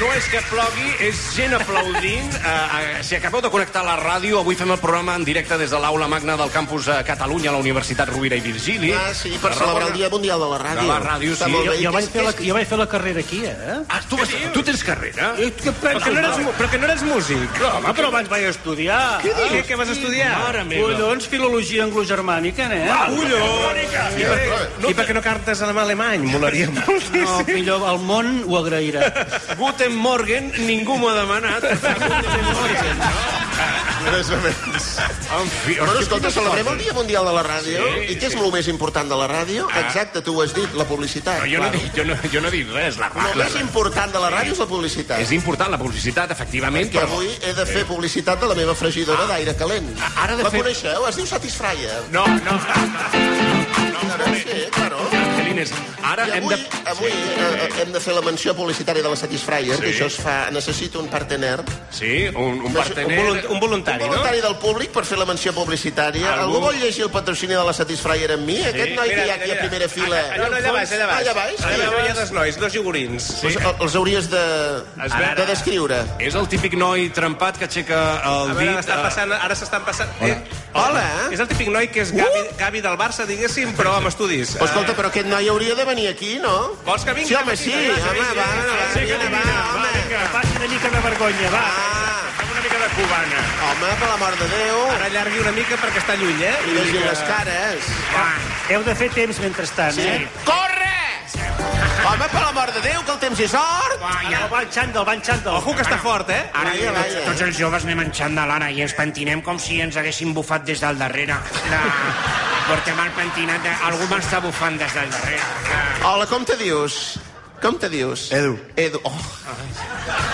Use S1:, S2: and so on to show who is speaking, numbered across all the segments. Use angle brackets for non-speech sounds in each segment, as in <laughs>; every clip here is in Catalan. S1: no és que plogui, és gent
S2: <laughs>
S1: aplaudint. Uh, si acabeu de connectar la ràdio, avui fem el programa en directe des de l'aula magna del campus a Catalunya, a la Universitat Rovira i Virgili.
S2: Ah, sí, per celebrar el Dia Mundial de la Ràdio.
S1: De la ràdio,
S2: Està
S1: sí.
S2: molt
S1: Jo-
S2: bé.
S3: Jo
S2: I
S3: vaig
S2: que-
S3: fer la,
S2: que-
S3: jo vaig fer la carrera aquí, eh?
S1: Ah, tu, vas, tu tens carrera?
S2: Eh,
S3: Que però, que no eres, mu- però que no eres músic. No, home, però abans vaig estudiar. Què dius? Què, què vas estudiar? Mare meva. Ah, Collons, filologia anglogermànica, eh? nen.
S4: I per què no cantes en alemany? Molaria molt.
S3: No, millor, el món ho <laughs> agrairà.
S1: Guten Morgen, ningú m'ho ha
S2: <laughs>
S1: demanat.
S2: Més o menys.
S1: en fi,
S2: Bueno,
S1: hosti,
S2: escolta,
S1: quina
S2: celebrem
S1: sort.
S2: el Dia Mundial de la Ràdio.
S1: Sí, Ah.
S2: I què és el més important de la ràdio? Exacte, tu ho has dit, la publicitat.
S1: No, jo, no,
S2: Claro.
S1: dic- jo, no, jo no dic res, la
S2: El
S1: ràdio.
S2: més important de la ràdio és la publicitat.
S1: És important, la publicitat, efectivament,
S2: Que
S1: però...
S2: avui he de fer publicitat de la meva fregidora d'aire calent.
S1: Ah, ara de
S2: la
S1: fer-
S2: coneixeu? Es diu Satisfyer.
S1: No, no, no, un
S2: Ara
S1: moment.
S2: sí, claro.
S1: Celines, ara
S2: I
S1: hem
S2: avui,
S1: de...
S2: avui eh, hem de fer la menció publicitària de la Satisfyer,
S1: Sí.
S2: que això es fa... Necessito un partener.
S1: Sí, un, un
S4: Un,
S1: partener...
S4: volun- un
S2: Un
S4: voluntari, no?
S2: voluntari del públic per fer la menció publicitària.
S1: Algú-
S2: Algú, vol llegir el patrocini de la Satisfyer amb mi? Aquest noi que hi ha aquí a primera fila...
S4: No, no, allà baix, allà baix.
S2: Allà baix?
S4: Allà
S2: Allà
S4: veure, hi ha
S2: baix.
S4: dos nois, dos jogurins.
S2: Doncs el- els hauries de,
S1: Es ve-
S2: de descriure.
S1: És el típic noi trempat que aixeca el
S4: A veure,
S1: dit...
S4: està
S1: eh,
S4: passant, ara s'estan passant... Hola. Eh,
S2: Hola. Uh!
S4: És el típic noi que és Gavi, Gavi del Barça, diguéssim, però amb estudis.
S2: Però escolta, però aquest noi hauria de venir aquí, no?
S4: Vols que vingui?
S2: Sí, home, sí. Home, va, va, va,
S1: Sí, que
S2: vine,
S1: vine,
S2: va,
S1: va,
S2: home.
S1: vinga.
S3: Faci una mica de vergonya, va.
S2: Ah,
S1: Fem una mica de cubana.
S2: home, per l'amor de Déu.
S4: Ara allargui una mica perquè està lluny, eh?
S2: I llegiu les cares.
S3: Ah, Heu de fer temps mentrestant,
S2: Sí.
S3: eh?
S2: Corre! Home, per l'amor de Déu, que el temps és or!
S3: Ara el van xandall, van xandall.
S4: Ojo, que està fort, eh?
S5: Ara
S2: Vaja,
S5: tots,
S2: vaja.
S5: tots els joves anem en xandalara i ens pentinem com si ens haguéssim bufat des del darrere. La... Portem el pentinat de... Algú m'està bufant des del darrere. La...
S2: Hola, com te dius? Com te dius?
S4: Edu.
S2: Edu. Oh,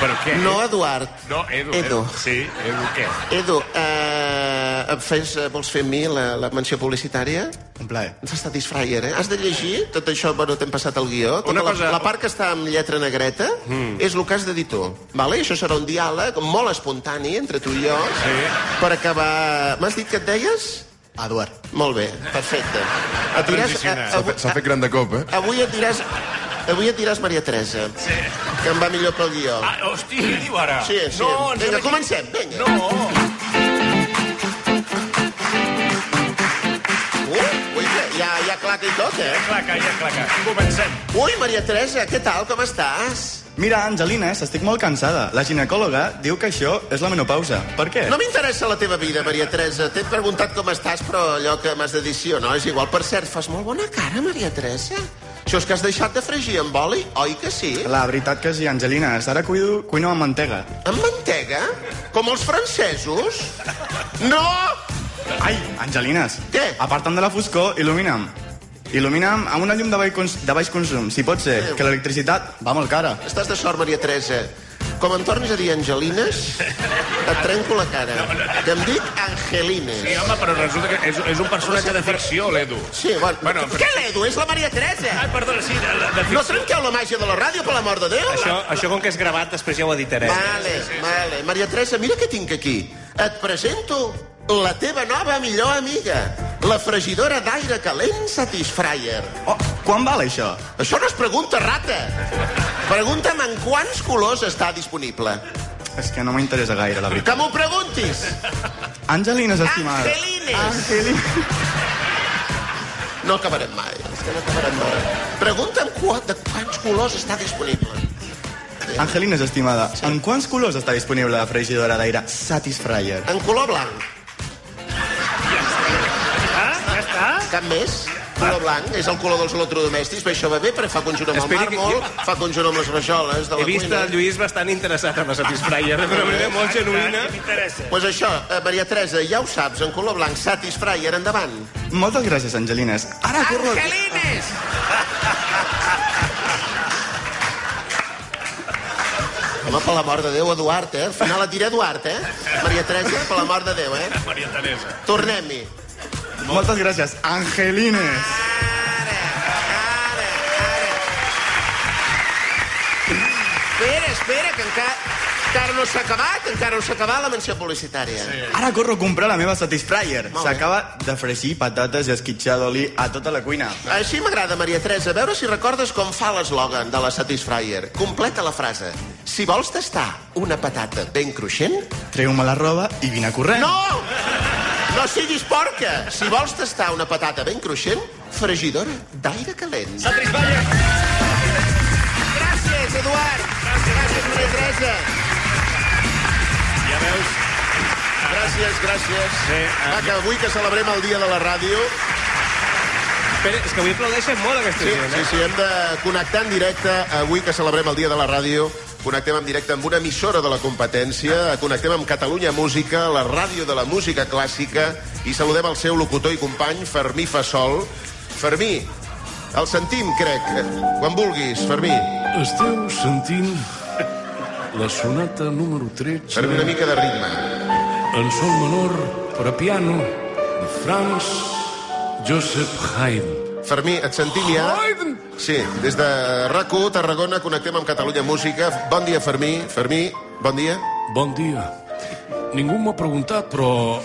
S1: Però què?
S2: no, Eduard.
S1: No, Edu.
S2: Edu.
S1: Sí, Edu, què?
S2: Edu, eh, em fes, eh, vols fer amb mi la, la menció publicitària?
S6: Un plaer.
S2: Ens està disfraier, eh? Has de llegir tot això, bueno, t'hem passat el guió. Tota
S1: Una
S2: la,
S1: cosa-
S2: la part que està amb lletra negreta mm. és el que has de dir tu. Vale? Això serà un diàleg molt espontani entre tu i jo sí. per acabar... M'has dit que et deies?
S6: Eduard.
S2: Molt bé, perfecte. Et diràs, a,
S1: transicionar.
S6: S'ha
S2: avui,
S6: fet, s'ha fet gran de cop, eh?
S2: a, avui et diràs... Avui et diràs Maria Teresa, sí. que em va millor pel guió.
S1: Ah, hosti, què diu ara?
S2: Sí, sí.
S1: No,
S2: vinga,
S1: no,
S2: comencem, vinga.
S1: no, no.
S2: Uh, ui, ja, ja, ja claca i tot, eh?
S1: Claca, ja, claca. Comencem.
S2: Ui, Maria Teresa, què tal, com estàs?
S6: Mira, Angelines, estic molt cansada. La ginecòloga diu que això és la menopausa. Per què?
S2: No m'interessa la teva vida, Maria Teresa. T'he preguntat com estàs, però allò que m'has de dir sí o no és igual. Per cert, fas molt bona cara, Maria Teresa. Això és que has deixat de fregir amb oli, oi que sí?
S6: La veritat que sí, Angelines. Ara cuido, cuino amb mantega.
S2: Amb mantega? Com els francesos? No!
S6: Ai, Angelines.
S2: Què?
S6: Aparta'm de la foscor, il·lumina'm. Il·lumina'm amb una llum de baix, cons de baix consum, si pot ser, que l'electricitat va molt cara.
S2: Estàs de sort, Maria Teresa. Com em tornis a dir Angelines, et trenco la cara. Que em dic Angelines.
S1: Sí, home, però resulta que és, és un personatge de ficció, l'Edu.
S2: Sí, bueno.
S1: Bueno, però-
S2: Què l'Edu? És la Maria Teresa!
S1: Ah, perdona, sí, de, de
S2: No
S1: ficció.
S2: trenqueu la màgia de la ràdio, per l'amor de Déu!
S4: Això, això com que és gravat, després ja ho editaré.
S2: Vale, vale. Maria Teresa, mira què tinc aquí. Et presento la teva nova millor amiga, la fregidora d'aire calent Satisfyer.
S6: Oh, quan val això?
S2: Això no es pregunta, rata. Pregunta'm en quants colors està disponible.
S6: És que no m'interessa gaire, la veritat.
S2: Que m'ho preguntis.
S6: Angelines, estimada.
S2: Angelines.
S6: Angelines.
S2: No acabarem mai. És que no acabarem mai. Pregunta'm qua- de quants colors està disponible.
S6: Angelines, estimada, en quants colors està disponible la fregidora d'aire Satisfyer?
S2: En color blanc.
S3: Ah, ja està?
S2: Cap més? Color blanc és el color dels electrodomèstics, però això va bé perquè fa conjunt amb el
S4: Esperi que-
S2: màrmol, fa conjunt amb les rajoles de la
S4: He vist
S2: cuina.
S4: el Lluís bastant interessat en la eh? Satisfyer, d'una manera molt genuïna.
S3: M'interessa.
S2: Pues això, eh, Maria Teresa, ja ho saps, en color blanc, Satisfyer, endavant.
S6: Moltes gràcies, Angelines. Ah, Ara corro...
S2: Angelines! Home, per la mort de Déu, Eduard, eh? Al final et diré Eduard, eh? Maria Teresa, per la mort de Déu, eh?
S1: Maria Teresa.
S2: Tornem-hi.
S6: Moltes gràcies, Angelines.
S2: Ara, ara, ara. Espera, espera, que encara... Encara no s'ha acabat, encara no s'ha acabat la menció publicitària. Sí.
S6: Ara corro a comprar la meva Satisfyer.
S2: Molt bé.
S6: S'acaba de fregir patates i esquitxar d'oli a tota la cuina.
S2: Així m'agrada, Maria Teresa, a veure si recordes com fa l'eslògan de la Satisfyer. Completa la frase. Si vols tastar una patata ben cruixent...
S6: Treu-me la roba i vine a corrent.
S2: No! No siguis porca! Si vols tastar una patata ben cruixent, fregidora d'aire calent. Gràcies, Eduard! Gràcies, gràcies Maria Teresa!
S1: Ja veus?
S2: Gràcies, gràcies.
S1: Sí,
S2: Va, que avui que celebrem el Dia de la Ràdio,
S4: Espera, és que avui aplaudeixen molt aquesta
S2: sí,
S4: gent,
S2: sí,
S4: eh?
S2: sí, hem de connectar en directe avui que celebrem el Dia de la Ràdio. Connectem en directe amb una emissora de la competència, connectem amb Catalunya Música, la ràdio de la música clàssica, i saludem el seu locutor i company, Fermí Fassol. Fermí, el sentim, crec. Quan vulguis, Fermí.
S7: Esteu sentint la sonata número 13
S2: Fermí, una mica de ritme.
S7: en sol menor per a piano de Franz Joseph Haydn.
S2: Fermí, et sentim ja?
S7: Haydn!
S2: Sí, des de rac Tarragona, connectem amb Catalunya Música. Bon dia, Fermí. Fermí, bon dia.
S7: Bon dia. Ningú m'ha preguntat, però...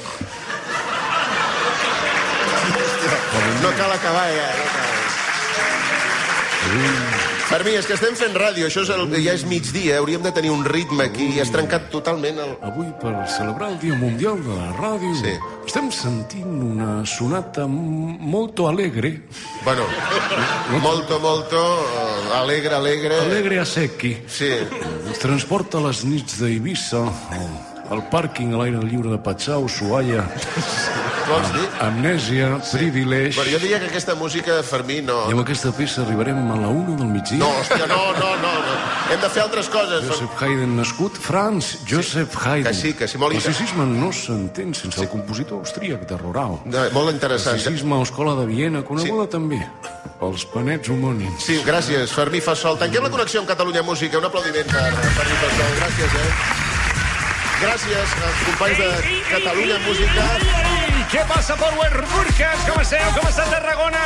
S2: No cal acabar, ja. No cal. Fermí, és que estem fent ràdio, això és el, ja és migdia, hauríem de tenir un ritme aquí, i has trencat totalment el...
S7: Avui, per celebrar el Dia Mundial de la Ràdio,
S2: Sí.
S7: estem sentint una sonata m- molto alegre,
S2: Bueno, molto, molto, eh, alegre, alegre...
S7: alegre a secchi.
S2: Sí,
S7: Transporta les nits d'Eivissa al, al pàrquing a l'aire lliure de Patxau, Suaia,
S2: vols dir?
S7: Amnèsia, Privilege...
S2: Bueno, jo diria que aquesta música, Fermí, no...
S7: I amb aquesta peça arribarem a la una del migdia.
S2: No, hòstia, no, no, no, no. Hem de fer altres coses. Fermí.
S7: Joseph Haydn nascut, Franz Joseph Haydn.
S2: Que sí, que sí, molt
S7: El sisisme no s'entén sense el compositor austríac de Rorau.
S2: No, Molt
S7: El
S2: interessant.
S7: sisisme a Escola de Viena, coneguda també pels panets homònims.
S2: Sí, gràcies, Fermí Fassol. Tanquem la connexió amb Catalunya Música. Un aplaudiment per Fermí Fassol. Gràcies, eh? Gràcies als companys de Catalunya Música.
S1: Què passa, Power Burkes? Com esteu? Com està Tarragona?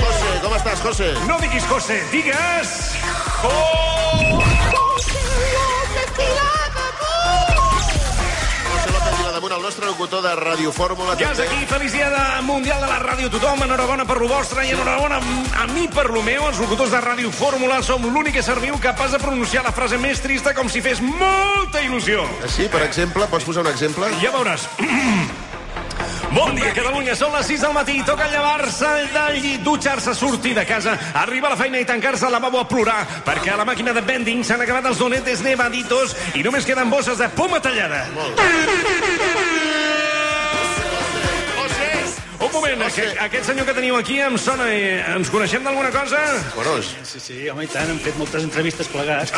S2: José, com estàs, José?
S1: No diguis José, digues... Oh, Jo...
S2: José López Vilademunt, el nostre locutor de Radio Fórmula.
S1: Ja és
S2: també.
S1: aquí, feliç dia de Mundial de la Ràdio a tothom, enhorabona per lo vostre i enhorabona a mi per lo meu. Els locutors de Ràdio Fórmula som l'únic que serviu capaç de pronunciar la frase més trista com si fes molta il·lusió.
S2: Sí, per exemple, pots posar un exemple?
S1: Ja veuràs. <clears throat> Bon dia, Catalunya. Són les 6 del matí. Toca llevar-se del llit, dutxar-se, sortir de casa, arribar a la feina i tancar-se al lavabo a plorar, perquè a la màquina de vending s'han acabat els donetes nevaditos i només queden bosses de poma tallada. Un moment, aquest, aquest senyor que teniu aquí em sona... Eh, ens coneixem d'alguna cosa?
S2: Borós.
S3: Sí, sí, home, i tant, hem fet moltes entrevistes plegats.